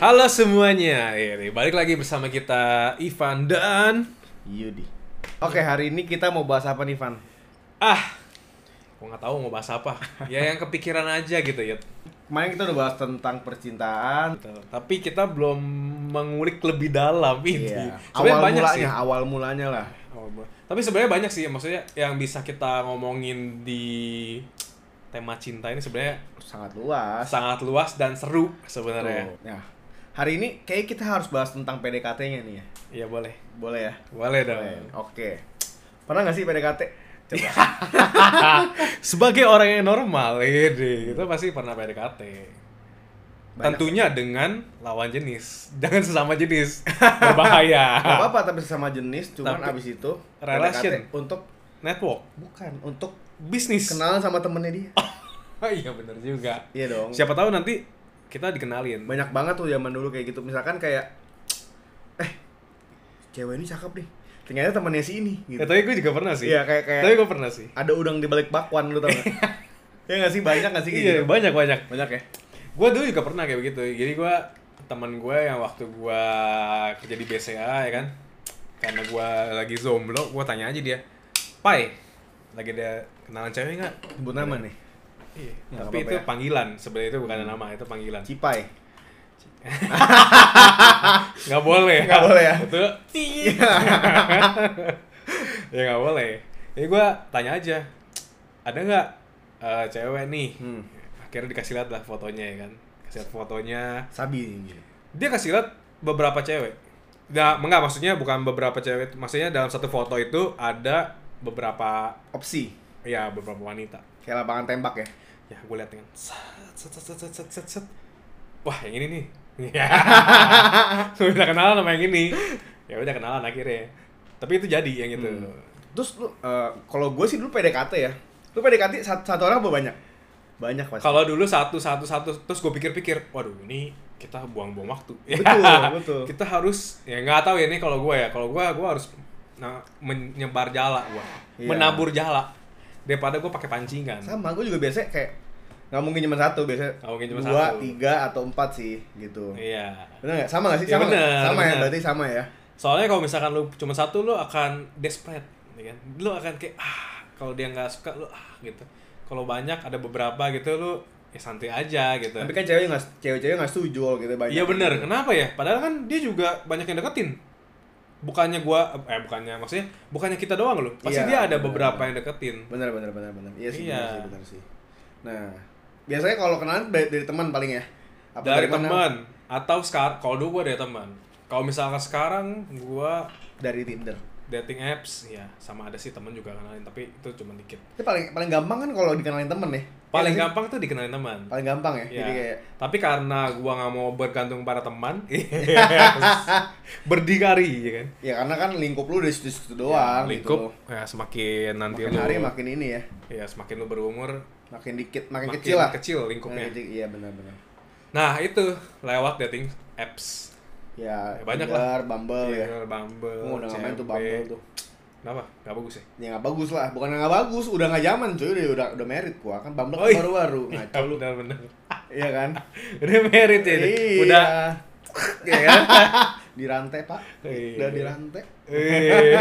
Halo semuanya, ini balik lagi bersama kita Ivan dan Yudi. Oke, hari ini kita mau bahas apa nih, Van? ah, gua nggak tahu mau bahas apa. Ya yang kepikiran aja gitu ya. Kemarin kita udah bahas tentang percintaan. Tapi kita belum mengulik lebih dalam ini. Iya. Sebenarnya Awal banyak mulanya, sih. awal mulanya lah. Awal mula- Tapi sebenarnya banyak sih, maksudnya yang bisa kita ngomongin di tema cinta ini sebenarnya Sangat luas. sangat luas dan seru Tuh. sebenarnya. Nah, hari ini kayak kita harus bahas tentang PDKT-nya nih ya. Iya boleh, Boleh ya? boleh dong. Boleh. Iya. Oke. Pernah nggak sih PDKT? Coba. Ah, Sebagai orang yang normal, ini kita pasti pernah PDKT. Banyak. Tentunya dengan lawan jenis. Jangan sesama jenis. Berbahaya. Gak apa-apa tapi sesama jenis, cuman Tapi- abis itu Relation. PDKT untuk Network, bukan untuk bisnis. kenalan sama temennya dia. Oh, iya bener juga. Iya dong. Siapa tahu nanti kita dikenalin. banyak banget tuh zaman dulu kayak gitu misalkan kayak eh cewek ini cakep nih ternyata temannya si ini gitu Ya, tapi gue juga pernah sih. Iya, kayak- kayak- Tapi gue pernah sih. ada udang di balik bakwan lu tau gak ya nggak sih banyak nggak sih kayak Iya, gitu? banyak-banyak. banyak ya Gue dulu juga pernah kayak begitu. Jadi gue teman gue yang waktu gue kerja di BCA ya kan. Karena gue lagi zomblo, gue tanya aja dia, "Pai, lagi ada kenalan cewek nggak?" sebut nama nih Iya, Ya, tapi itu nggak apa-apa ya. Hmm. panggilan. Sebenarnya itu bukan nama, itu panggilan. cipai Nggak boleh. Nggak boleh ya? Itu ya nggak boleh. Jadi gue tanya aja, ada nggak eh, cewek nih? Hmm. Akhirnya dikasih lihat lah fotonya ya kan. Kasih lihat fotonya. sabi nih gitu. Dia kasih lihat beberapa cewek. Nah, enggak maksudnya bukan beberapa cewek, maksudnya dalam satu foto itu ada beberapa opsi ya beberapa wanita. kayak lapangan tembak ya Ya, gue lihat kan. Set, set, set, set, set, set, set. Wah, yang ini nih. Ya. Gue udah kenalan sama yang ini. Ya udah kenalan akhirnya. Tapi itu jadi yang itu. terus lu eh, kalau gue sih dulu PDKT ya lu PDKT satu, satu orang apa banyak banyak pasti Kalau dulu satu satu satu terus gue pikir-pikir, waduh ini kita buang-buang waktu. Ya. Betul, betul. Kita harus ya nggak tahu ya ini kalau gue ya. Kalau gue gue harus nah, menyebar jala gua. Iya. Menabur jala daripada gue pakai kan. pancingan. sama gue juga biasanya kayak nggak mungkin cuma satu biasanya Nggak mungkin cuma dua satu. tiga atau empat sih gitu Iya. Bener gak? Sama gak sih? Ya Sama, nggak? bener, sama ya? bener. Berarti sama ya? Soalnya kalau misalkan lu cuma satu lu akan desperate, ya kan? Lu akan kayak ah kalau dia nggak suka lu ah gitu. Kalau banyak ada beberapa gitu lu ya santai aja gitu. Tapi kan cewek nggak cewek-cewek nggak setuju kalau gitu banyak. Iya bener, kenapa ya? Padahal kan dia juga banyak yang deketin. Bukannya gua, eh bukannya maksudnya, bukannya kita doang loh. Pasti Iya, dia ada bener. beberapa yang deketin. Bener bener bener bener. Iya sih, Iya. bener sih bener sih. Nah, biasanya kalau kenalan dari, dari teman paling ya. Apa dari mana? teman atau sekarang, kalau dulu gua dari teman. Kalau misalkan sekarang gua Dari Tinder. dating apps, ya sama ada sih teman juga kenalin, tapi itu cuma dikit. Itu paling paling gampang kan kalau dikenalin temen ya. Paling Iya nggak gampang tuh dikenalin teman. sih? paling gampang ya. Ya. Jadi kayak Tapi karena gua nggak mau bergantung pada teman, iya. berdikari, ya kan? ya karena kan lingkup lu dari situ-situ Iya, doang gitu. Lingkup, Iya, loh. ya semakin nanti Makin lu- hari makin ini ya. Ya, semakin lu berumur, Makin dikit, makin, kecil lah. lingkupnya. Makin kecil, iya benar benar. Nah, itu lewat dating apps. Ya, Ya, banyak Iya. Tinder, Bumble ya. Tinder, Bumble, Oh, udah nggak main tuh CMB. Bumble tuh. Kenapa? Gak bagus ya? Ya nggak bagus lah, bukan nggak bagus, udah nggak zaman cuy, udah udah, udah merit gua kan Bumble Oh, kan iya. baru-baru ngaco lu, benar benar. iya kan? Udah merit ya. ini. Udah. iya kan? dirantai pak, Iya. udah dirantai. Eh.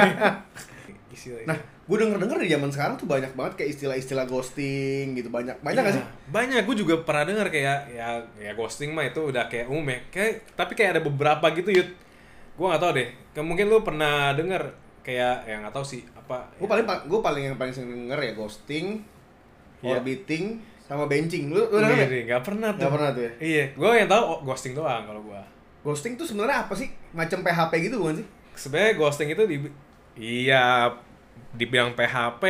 Isi lagi. Nah, gue denger denger di zaman sekarang tuh banyak banget kayak istilah-istilah ghosting gitu banyak banyak nggak Iya, sih? Banyak. Gue juga pernah dengar kayak ya ya ghosting mah itu udah kayak umum ya. Kayak, tapi kayak ada beberapa gitu, Yud. Gue nggak tahu deh. Ke- Mungkin lu pernah dengar kayak ya nggak tahu sih apa. Gue paling gue paling yang paling sering denger ya ghosting, Iya. orbiting, sama benching. Lu, Nih, lu denger nggak? nih, Iya. nggak pernah tuh. Nggak pernah tuh ya? Iya, gue yang tahu oh, ghosting doang kalau gue. Ghosting tuh sebenarnya apa sih? Macam PHP gitu bukan sih? sebenarnya ghosting itu di iya dibilang PHP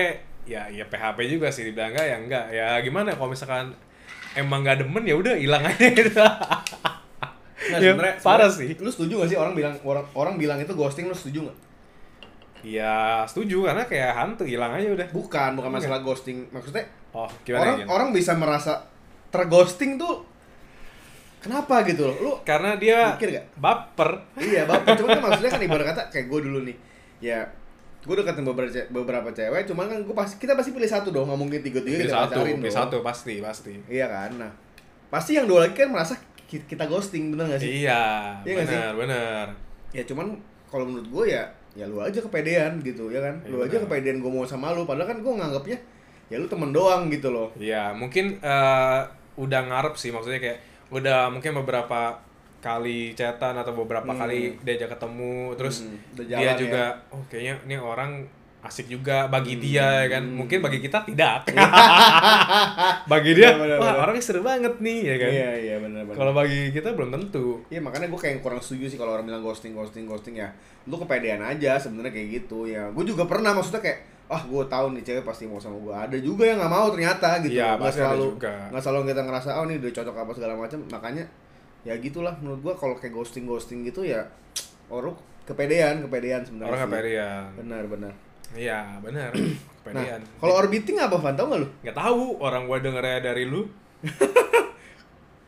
ya ya PHP juga sih dibilang enggak ya enggak ya gimana kalau misalkan emang nggak demen ya udah hilang aja gitu Nah, Ya, sebenarnya- parah sebenarnya- sih Lu setuju gak sih orang bilang orang orang bilang itu ghosting lu setuju gak? ya setuju karena kayak hantu hilang aja udah Bukan, bukan masalah ghosting. Maksudnya oh gimana orang Jan? orang bisa merasa terghosting tuh kenapa gitu loh. Lu karena dia Mikir nggak? baper iya, Bapak, cuman kan maksudnya kan ibarat kata kayak gue dulu nih. Ya gue deketin beberapa ce- beberapa cewek, cuman kan gue pasti kita pasti pilih satu dong, nggak mungkin tiga tiga Pilih kita satu pacarin Iya pilih dong. satu pasti pasti Iya kan, nah pasti yang dua lagi kan merasa ki- kita ghosting bener gak sih? Iya, Iya nggak sih? benar, benar. Ya cuman kalau menurut gue ya ya lu aja kepedean gitu ya kan. Iya, lu aja benar. kepedean gue mau sama lu padahal kan gue nganggapnya ya lu temen doang gitu loh. Iya, mungkin eh, udah ngarep sih maksudnya kayak udah mungkin beberapa kali chatan atau beberapa Hmm. kali diajak ketemu terus Hmm, udah dia jalan ya. juga oh kayaknya ini orang asik juga bagi Hmm. dia ya kan. Mungkin bagi kita tidak. bagi dia Benar, benar, wah benar. orangnya seru banget nih ya kan. Iya iya benar benar. Kalau bagi kita belum tentu. Iya makanya gue kayak kurang setuju sih kalau orang bilang ghosting ghosting ghosting ya. Lu kepedean aja sebenarnya kayak gitu ya. Gue juga pernah maksudnya kayak ah gue tahu nih cewek pasti mau sama gue. Ada juga yang nggak mau ternyata gitu. Iya, Nggak pasti ada selalu juga. nggak selalu kita ngerasa oh ini udah cocok apa segala macam. Makanya ya gitulah menurut gue kalau kayak ghosting ghosting gitu ya orang kepedean kepedean sebenarnya. Orang sih. kepedean. Benar benar. Iya, benar. Nah kepedean. kalau orbiting apa Van tau nggak lu? nggak tahu orang gua dengernya dari lu.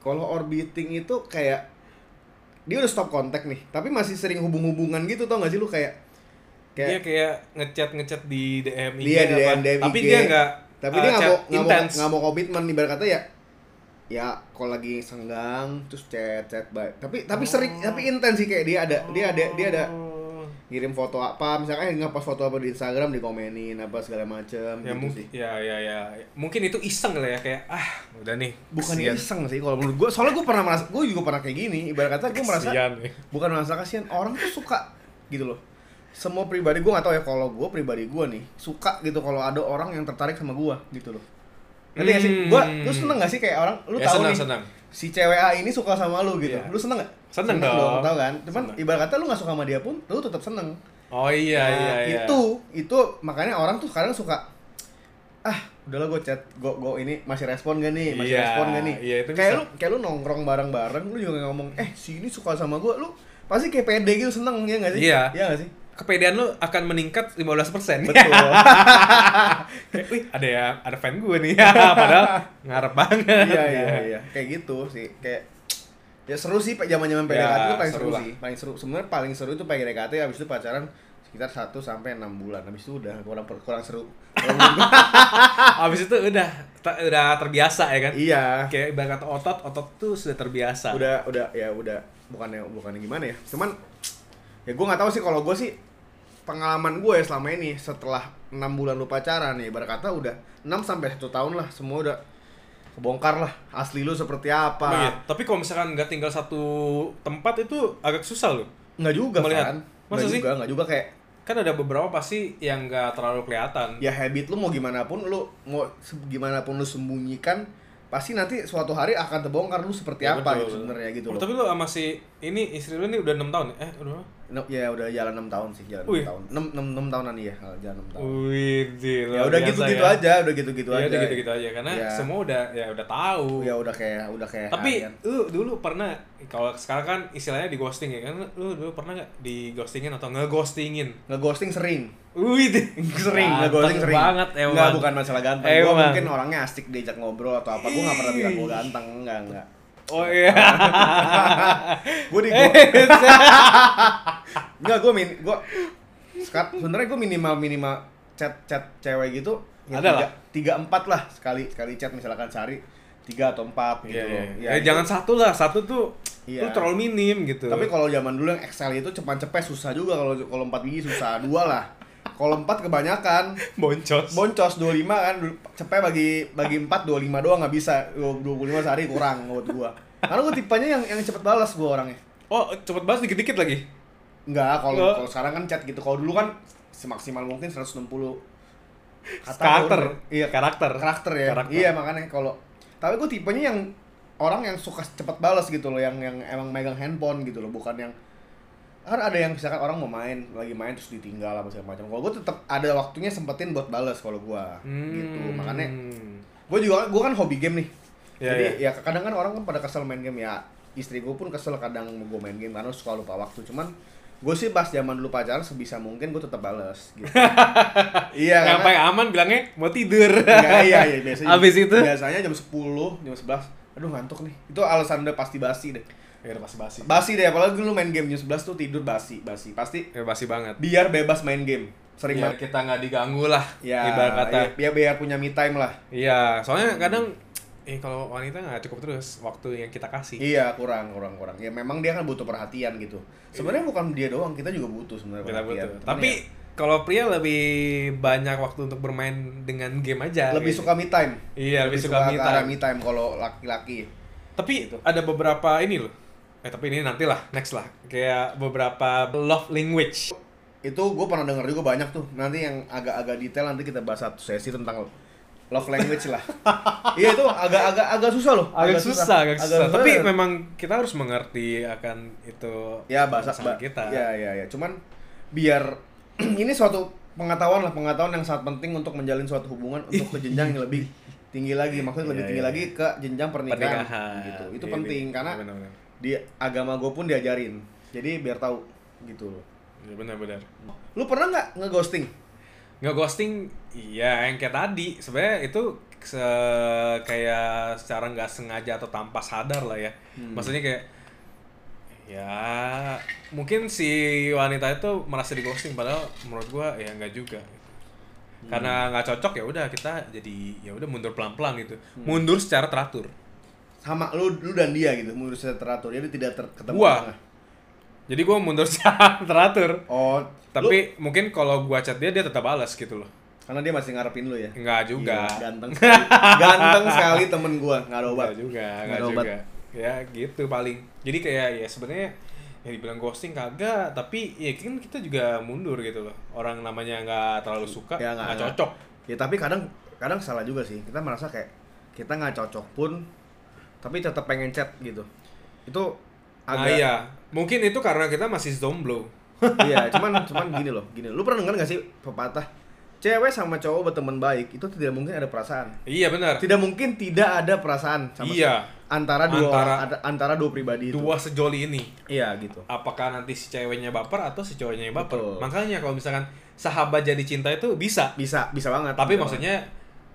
Kalau orbiting itu kayak dia udah stop kontak nih, tapi masih sering hubung-hubungan gitu tau gak sih lu kayak dia kayak ngechat ngechat di DM IG Dia Iya, di apa. DM, tapi IG. dia nggak tapi uh, dia nggak chat mau nggak mau intense. nggak mau komitmen ibarat kata ya ya kalau lagi senggang terus chat chat baik tapi tapi sering Oh. tapi intens sih kayak dia ada dia ada dia ada Oh. ngirim foto apa misalkan nggak pas foto apa di Instagram dikomenin apa segala macem ya gitu mungkin sih ya ya ya mungkin itu iseng lah ya kayak ah udah nih bukan kesian. iseng sih kalau menurut gue soalnya gue pernah merasa gue juga pernah kayak gini ibarat kata gue merasa Kesian. bukan merasa kasihan orang tuh suka gitu loh semua pribadi gue gak tau ya kalau gue pribadi gue nih suka gitu kalau ada orang yang tertarik sama gue gitu loh Ngerti gak sih? Gue, Hmm. lu seneng gak sih kayak orang, lu Ya, tahu senang, nih senang. si cewek A ini suka sama lu gitu, Iya. lu seneng gak? Seneng dong. tau kan? Cuman Seneng. ibarat kata lu gak suka sama dia pun, lu tetap seneng. oh iya Nah, iya iya Itu, itu makanya orang tuh kadang suka, ah udahlah gue chat, gue gue ini masih respon gak nih, masih Iya, respon gak nih? iya, itu kayak bisa. lu kayak lu nongkrong bareng-bareng, lu juga ngomong, eh si ini suka sama gue, lu pasti kayak pede gitu seneng ya gak sih? Iya. Iya gak sih? Iya, kepedean lu akan meningkat 15% Betul. Kayak, Wih, ada ya, ada fan gue nih. Padahal ngarep banget. iya iya iya kayak gitu sih kayak ya seru sih Pak, zaman-zaman PDKT Ya, itu paling seru seru, lah. sih paling seru sebenarnya paling seru itu PDKT habis itu pacaran sekitar 1 sampai 6 bulan habis itu udah kurang per- kurang seru Kalau menurut gua- Abis itu udah ter- udah terbiasa ya kan? iya Kayak ibarat kata otot, otot tuh sudah terbiasa. udah udah ya udah bukannya bukannya gimana ya cuman ya gue nggak tahu sih kalau gue sih pengalaman gue ya selama ini setelah enam bulan lu pacaran ya ibarat kata udah 6 sampai satu tahun lah semua udah kebongkar lah asli lu seperti apa Emang iya? Tapi kalau misalkan nggak tinggal satu tempat itu agak susah loh. nggak juga Melihat. kan Masa nggak sih? juga nggak juga kayak Kan ada beberapa pasti yang nggak terlalu kelihatan. ya habit lu mau gimana pun lu mau se- gimana pun lu sembunyikan pasti nanti suatu hari akan terbongkar lu seperti Ya, apa betul. gitu sebenarnya gitu Oh, loh. tapi lu sama si ini istri lu ini udah enam tahun ya? Eh, udah. berapa? No, ya udah jalan 6 tahun sih, jalan Wih. 6 tahun. 6 6, 6 tahunan iya, jalan 6 tahun. Wih, gila, ya udah biasa gitu-gitu ya. aja, udah gitu-gitu ya, aja. udah gitu-gitu aja karena Ya. semua udah ya udah tahu. Ya udah kayak udah kayak tapi harian. lu dulu pernah kalau sekarang kan istilahnya di ghosting ya kan lu dulu pernah nggak di ghostingin atau ngeghostingin? ngeghosting sering. Wih, Sering, Ganteng ngeghosting sering. banget ya, emang. Nggak, bukan masalah ganteng. Gua Emang. mungkin orangnya asik diajak ngobrol atau apa. Gua nggak pernah bilang gua ganteng, enggak, enggak. Oh iya. Eh, Gua di gua- Enggak, gue min, gue sekat. Sebenarnya gue minimal minimal chat chat cewek gitu. Ada tiga- lah. Tiga empat lah sekali sekali chat misalkan sehari tiga atau empat gitu. Iya, iya. loh. Ya, Ya, itu. jangan satu lah, satu tuh lu Iya. terlalu minim gitu. Tapi kalau zaman dulu yang Excel itu cepat cepet susah juga kalau kalau empat biji susah dua lah. Kalau empat kebanyakan boncos. boncos 25 kan dulu cepet bagi bagi 4 25 doang nggak bisa 25 sehari kurang buat gua karena gua tipenya yang yang cepet balas gua orangnya oh, cepet banget dikit-dikit lagi. Enggak, kalau Nggak. kalau sekarang kan chat gitu. Kalau dulu kan semaksimal mungkin 160 kata Karakter. turun. Iya, karakter. karakter. Karakter ya. Karakter. Iya, makanya kalau tapi gue tipenya yang orang yang suka cepet balas gitu loh, yang yang emang megang handphone gitu loh, bukan yang kan ada yang misalkan orang mau main, lagi main terus ditinggal apa segala macam. Kalau gue tetap ada waktunya sempetin buat balas kalau gue Hmm. gitu. Makanya gue juga gue kan hobi game nih Iya, jadi ya kadang kan orang kan pada kesel main game ya istri gue pun kesel kadang gue main game karena suka lupa waktu cuman gue sih pas zaman dulu pacaran sebisa mungkin gue tetap balas gitu iya yang karena paling aman bilangnya mau tidur. Enggak, iya iya biasanya jam- Abis itu? biasanya jam 10 jam 11 aduh ngantuk nih itu alasan udah pasti basi deh Ya udah pasti basi. basi deh apalagi lu main game jam 11 tuh tidur basi basi pasti Ya basi banget. biar bebas main game sering Biar banget kita nggak diganggu lah. ya, Iya. Ibarat kata. ya, biar, biar punya me time lah Iya, soalnya kadang eh kalau wanita nggak cukup terus waktu yang kita kasih. Iya kurang kurang kurang. Ya memang dia kan butuh perhatian gitu. Sebenarnya bukan dia doang, kita juga butuh sebenarnya Iya. Kita perhatian. butuh. Cuman Tapi kalau pria lebih banyak waktu untuk bermain dengan game ya, aja. lebih gitu. suka me time. Iya, lebih suka me ke time. arah me time kalau laki-laki. Tapi Gitu. ada beberapa ini loh. Eh tapi ini nanti lah, next lah. Kayak beberapa love language. Itu gue pernah dengar juga banyak tuh. Nanti yang agak-agak detail nanti kita bahas satu sesi tentang love language lah. iya itu agak-agag agak susah loh. Agak, susah, agak susah. Tapi dan- memang kita harus mengerti akan itu ya bahasa pasangan ba- kita. Ya ya ya. Cuman biar ini suatu pengetahuan lah pengetahuan yang sangat penting untuk menjalin suatu hubungan untuk ke jenjang yang lebih tinggi lagi maksudnya lebih Iya, tinggi iya. lagi ke jenjang pernikahan, Pernikahan. gitu itu Iya, penting iya. karena Benar-benar. di agama gue pun diajarin jadi biar tahu gitu loh Ya, benar-benar. lu pernah nggak ngeghosting nggak ghosting iya yang kayak tadi sebenarnya itu se- kayak secara nggak sengaja atau tanpa sadar lah ya Hmm. maksudnya kayak ya mungkin si wanita itu merasa di ghosting padahal menurut gua ya nggak juga Hmm. karena nggak cocok ya udah kita jadi ya udah mundur pelan pelan gitu Hmm. mundur secara teratur sama lu lu dan dia gitu menurut saya teratur jadi tidak ter- ketemu Gua. tengah. jadi gua mundur secara teratur oh tapi tapi mungkin kalau gua chat dia dia tetap balas gitu loh karena dia masih ngarepin lu ya nggak Iya, juga Gila, ganteng sekali ganteng sekali temen gue nggak ada obat Nggak Iya, juga, Nggak nggak ada obat. juga. Ya gitu paling. Jadi kayak ya sebenarnya ya dibilang ghosting kagak, tapi ya kan kita juga mundur gitu loh. Orang namanya nggak terlalu suka, Ya, nggak- nggak nggak. cocok. ya tapi kadang kadang salah juga sih kita merasa kayak kita nggak cocok pun tapi tetap pengen chat gitu itu Nah agak iya, mungkin itu karena kita masih zomblo. iya, cuman cuman gini loh gini lu pernah dengar nggak sih pepatah cewek sama cowok berteman baik itu tidak mungkin ada perasaan Iya benar. tidak mungkin tidak ada perasaan sama Iya. sekali. antara dua Antara- ada- antara dua pribadi itu Dua sejoli ini. iya gitu Apakah nanti si ceweknya baper atau si cowoknya yang baper? Betul. Makanya kalau misalkan sahabat jadi cinta itu bisa, bisa bisa banget tapi Bisa maksudnya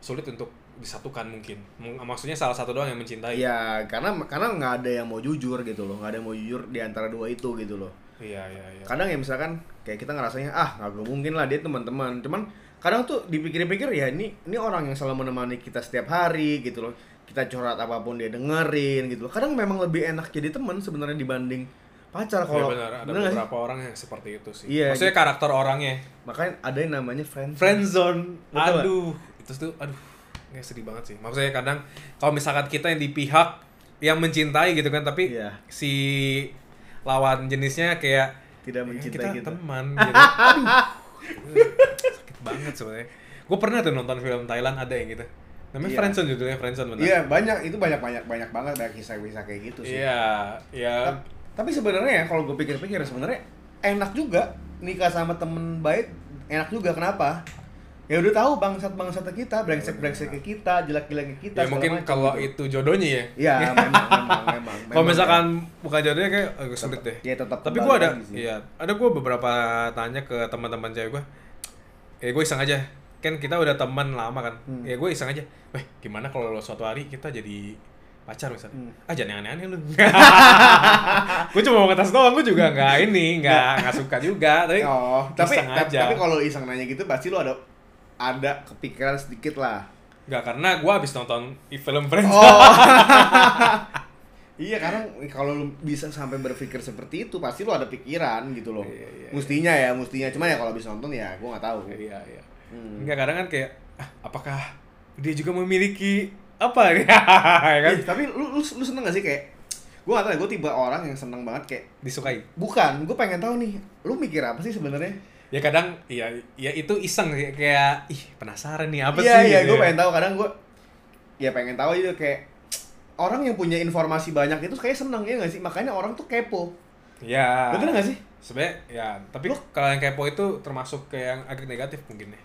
sulit untuk disatukan mungkin. M- Maksudnya salah satu doang yang mencintai. Iya, karena karena nggak ada yang mau jujur gitu loh, nggak ada yang mau jujur di antara dua itu gitu loh. Iya, iya, iya. Kadang ya misalkan kayak kita ngerasanya ah nggak mungkin lah dia teman-teman, cuman kadang tuh dipikir-pikir ya ini ini orang yang selalu menemani kita setiap hari gitu loh. Kita curhat apapun dia dengerin gitu loh. Kadang memang lebih enak jadi teman sebenarnya dibanding pacar kalau Iya benar, ada bener nggak sih? beberapa orang yang seperti itu sih. Iya, Maksudnya karakter orangnya. Makanya ada yang namanya friend. Friendzone. Betul nggak? aduh, itu tuh aduh. Kayak sedih banget sih. Maksudnya kadang kalau misalkan kita yang di pihak yang mencintai gitu kan, tapi Iya. si lawan jenisnya kayak Tidak "Eh, mencintai kita." teman gitu. Aduh. Sakit banget sebenarnya. Gue pernah tuh nonton film Thailand ada yang gitu. Namanya Iya. Friendzone judulnya Friendzone benar. Iya, banyak itu banyak banyak banyak banget banyak kisah-kisah kayak gitu sih. Iya, iya. Ta- tapi sebenarnya ya kalau gue pikir-pikir sebenarnya enak juga nikah sama temen baik enak juga kenapa ya udah tahu bangsat bangsat kita brengsek brengsek ke kita jelek jelek ke Ya kita mungkin kalau itu jodohnya ya. ya memang memang gitu. memang Kalau memang. misalkan bukan jodohnya kayak agak sulit deh. Tetep- ya, tetep Tapi kembali gue ada, lagi sih. iya, ada gue beberapa tanya ke teman-teman cewek gue. Ya gue iseng aja. Kan kita udah teman lama kan. Hmm. Ya gue iseng aja. Weh, gimana kalau lo suatu hari kita jadi pacar misalnya? Hmm. Ah jangan yang aneh-aneh lu. gue cuma mau ngetes doang, gue juga nggak ini, nggak nggak suka juga. Tapi, oh tapi iseng tapi, aja. tapi kalau iseng nanya gitu pasti lo ada ada kepikiran sedikit lah Nggak karena gue abis nonton film Friends. oh Iya, karena kalau lu bisa sampai berpikir seperti itu, pasti lu ada pikiran gitu loh. Iya, iya, Mustinya ya, mustinya. Cuma ya kalau bisa nonton ya, gue nggak tahu. Iya, iya. Hmm. Enggak kadang kan kayak "Ah, apakah dia juga memiliki apa ya kan Ih, Iya, tapi lu, lu lu seneng gak sih kayak gue gak tau ya gue tipe orang yang seneng banget kayak disukai. bukan gue pengen tahu nih lu mikir apa sih sebenarnya Ya kadang ya ya itu iseng sih, kayak ih penasaran nih apa iya sih iya gitu gue ya. pengen tahu kadang gue ya pengen tahu aja kayak orang yang punya informasi banyak itu kayak seneng ya gak sih makanya orang tuh kepo Ya. bener gak sih Sebenarnya ya, tapi Lu- kalau yang kepo itu termasuk ke yang agak negatif mungkin ya.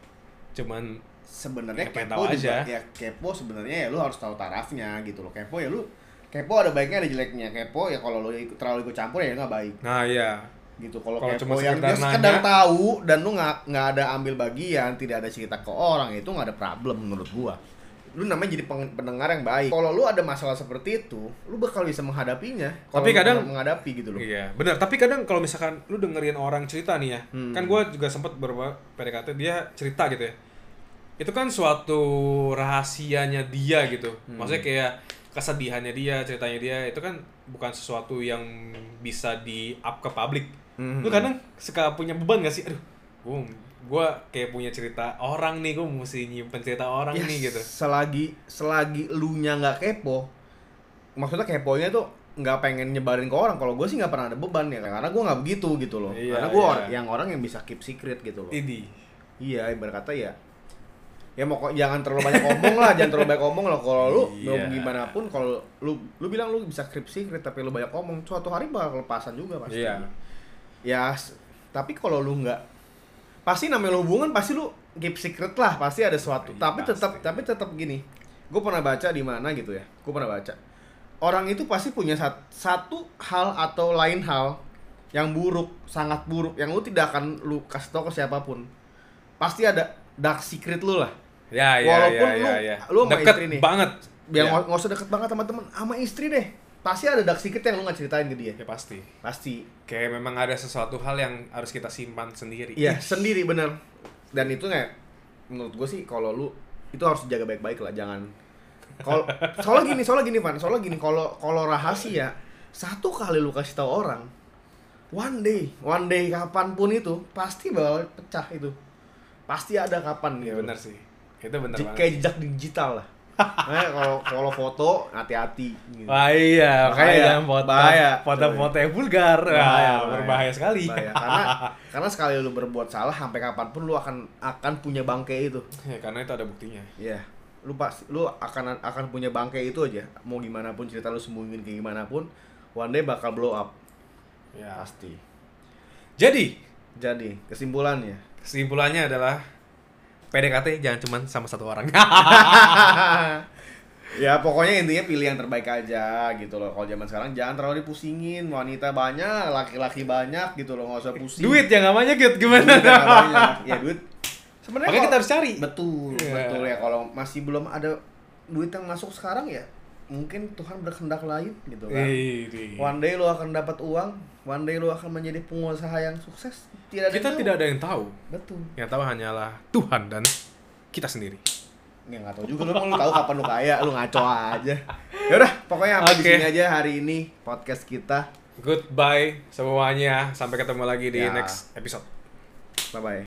Cuman sebenarnya Ya, pengen kepo tahu juga aja. ya kepo sebenarnya ya lu harus tahu tarafnya gitu loh kepo ya lu kepo ada baiknya ada jeleknya kepo ya kalau lu ikut, terlalu ikut campur ya nggak baik nah ya. gitu kalau Kalau kepo cuma yang sekedar dia sekedar nanya. tahu dan lu nggak nggak ada ambil bagian tidak ada cerita ke orang itu nggak ada problem menurut gua lu namanya jadi peng- pendengar yang baik kalau lu ada masalah seperti itu lu bakal bisa menghadapinya kalau Tapi lu kadang- menghadapi gitu loh Iya, benar. Tapi kadang kalau misalkan lu Hmm. dengerin orang cerita nih ya, kan gue juga sempet beberapa PDKT dia cerita gitu ya. itu kan suatu rahasianya dia gitu Hmm. maksudnya kayak kesedihannya dia ceritanya dia itu kan bukan sesuatu yang bisa di up ke publik Hmm. lu kadang suka punya beban gak sih aduh gue gue kayak punya cerita orang nih gue mesti nyimpen cerita orang Ya, nih gitu Selagi selagi lu nya nggak kepo, maksudnya keponya tuh nggak pengen nyebarin ke orang. Kalau gue sih nggak pernah ada beban ya, karena gue nggak begitu gitu loh. Iya, karena gue iya. yang orang yang bisa keep secret gitu loh. ini Iya, ibarat kata ya. Ya mau ko- jangan terlalu banyak omong lah, jangan terlalu banyak omong loh. Kalau lu mau Iya. gimana pun, kalau lu lu bilang lu bisa keep secret tapi lu banyak omong, suatu hari bakal kelepasan juga pasti. Iya. Ya, s- tapi kalau lu nggak pasti namanya lu hubungan pasti lu keep secret lah, pasti ada suatu. Iya, tapi tetap pasti. tapi tetap gini. Gue pernah baca di mana gitu ya. Gue pernah baca. Orang itu pasti punya sat- satu hal atau lain hal yang buruk, sangat buruk yang lu tidak akan lu kasih tau ke siapapun pasti ada dark secret lu lah ya ya Walaupun ya, lu- ya, ya. lu sama deket istri nih. banget biar ya. nggak nggak usah deket banget sama temen sama istri deh pasti ada dark secret yang lu nggak ceritain ke dia ya pasti pasti kayak memang ada sesuatu hal yang harus kita simpan sendiri iya sendiri bener dan itu nggak menurut gue sih kalau lu itu harus dijaga baik-baik lah jangan kalau soalnya gini soalnya gini Van soalnya gini kalau kalau rahasia satu kali lu kasih tahu orang one day one day kapanpun itu pasti bakal pecah itu pasti ada kapan Iya, gitu. benar sih itu benar Je- banget kayak jejak digital lah. Makanya kalau kalau foto hati-hati gitu. Wah iya, makanya Bahaya, jangan foto, bahaya. foto-foto yang vulgar, Iya. bahaya, berbahaya sekali. Bahaya. Nah, ya, Karena karena sekali lu berbuat salah sampai kapanpun lu akan akan punya bangke itu. Ya, karena itu ada buktinya. Iya. Lu pasti lu akan akan punya bangke itu aja. Mau gimana pun cerita lu sembunyiin kayak gimana pun, one day bakal blow up Ya. pasti. Jadi Jadi, kesimpulannya kesimpulannya adalah PDKT jangan cuma sama satu orang. ya pokoknya intinya pilih yang terbaik aja gitu loh kalau zaman sekarang jangan terlalu dipusingin wanita banyak laki-laki banyak gitu loh nggak usah pusing Duit yang gak banyak gitu Duit gimana? yang nggak banyak ya duit sebenarnya Makanya kita kalau- harus cari. betul Iya. betul ya kalau masih belum ada duit yang masuk sekarang ya mungkin Tuhan berkehendak lain gitu kan Ih, di- one day lo akan dapat uang one day lo akan menjadi pengusaha yang sukses tidak ada Kita yang tahu. tidak ada yang tahu. betul Yang tahu hanyalah Tuhan dan kita sendiri. Ya nggak tahu juga lu emang lu tahu kapan lu kaya, lu ngaco aja. Ya udah, pokoknya sampai di Oke. sini aja hari ini podcast kita. Goodbye semuanya. Sampai ketemu lagi di Ya. next episode. Bye bye.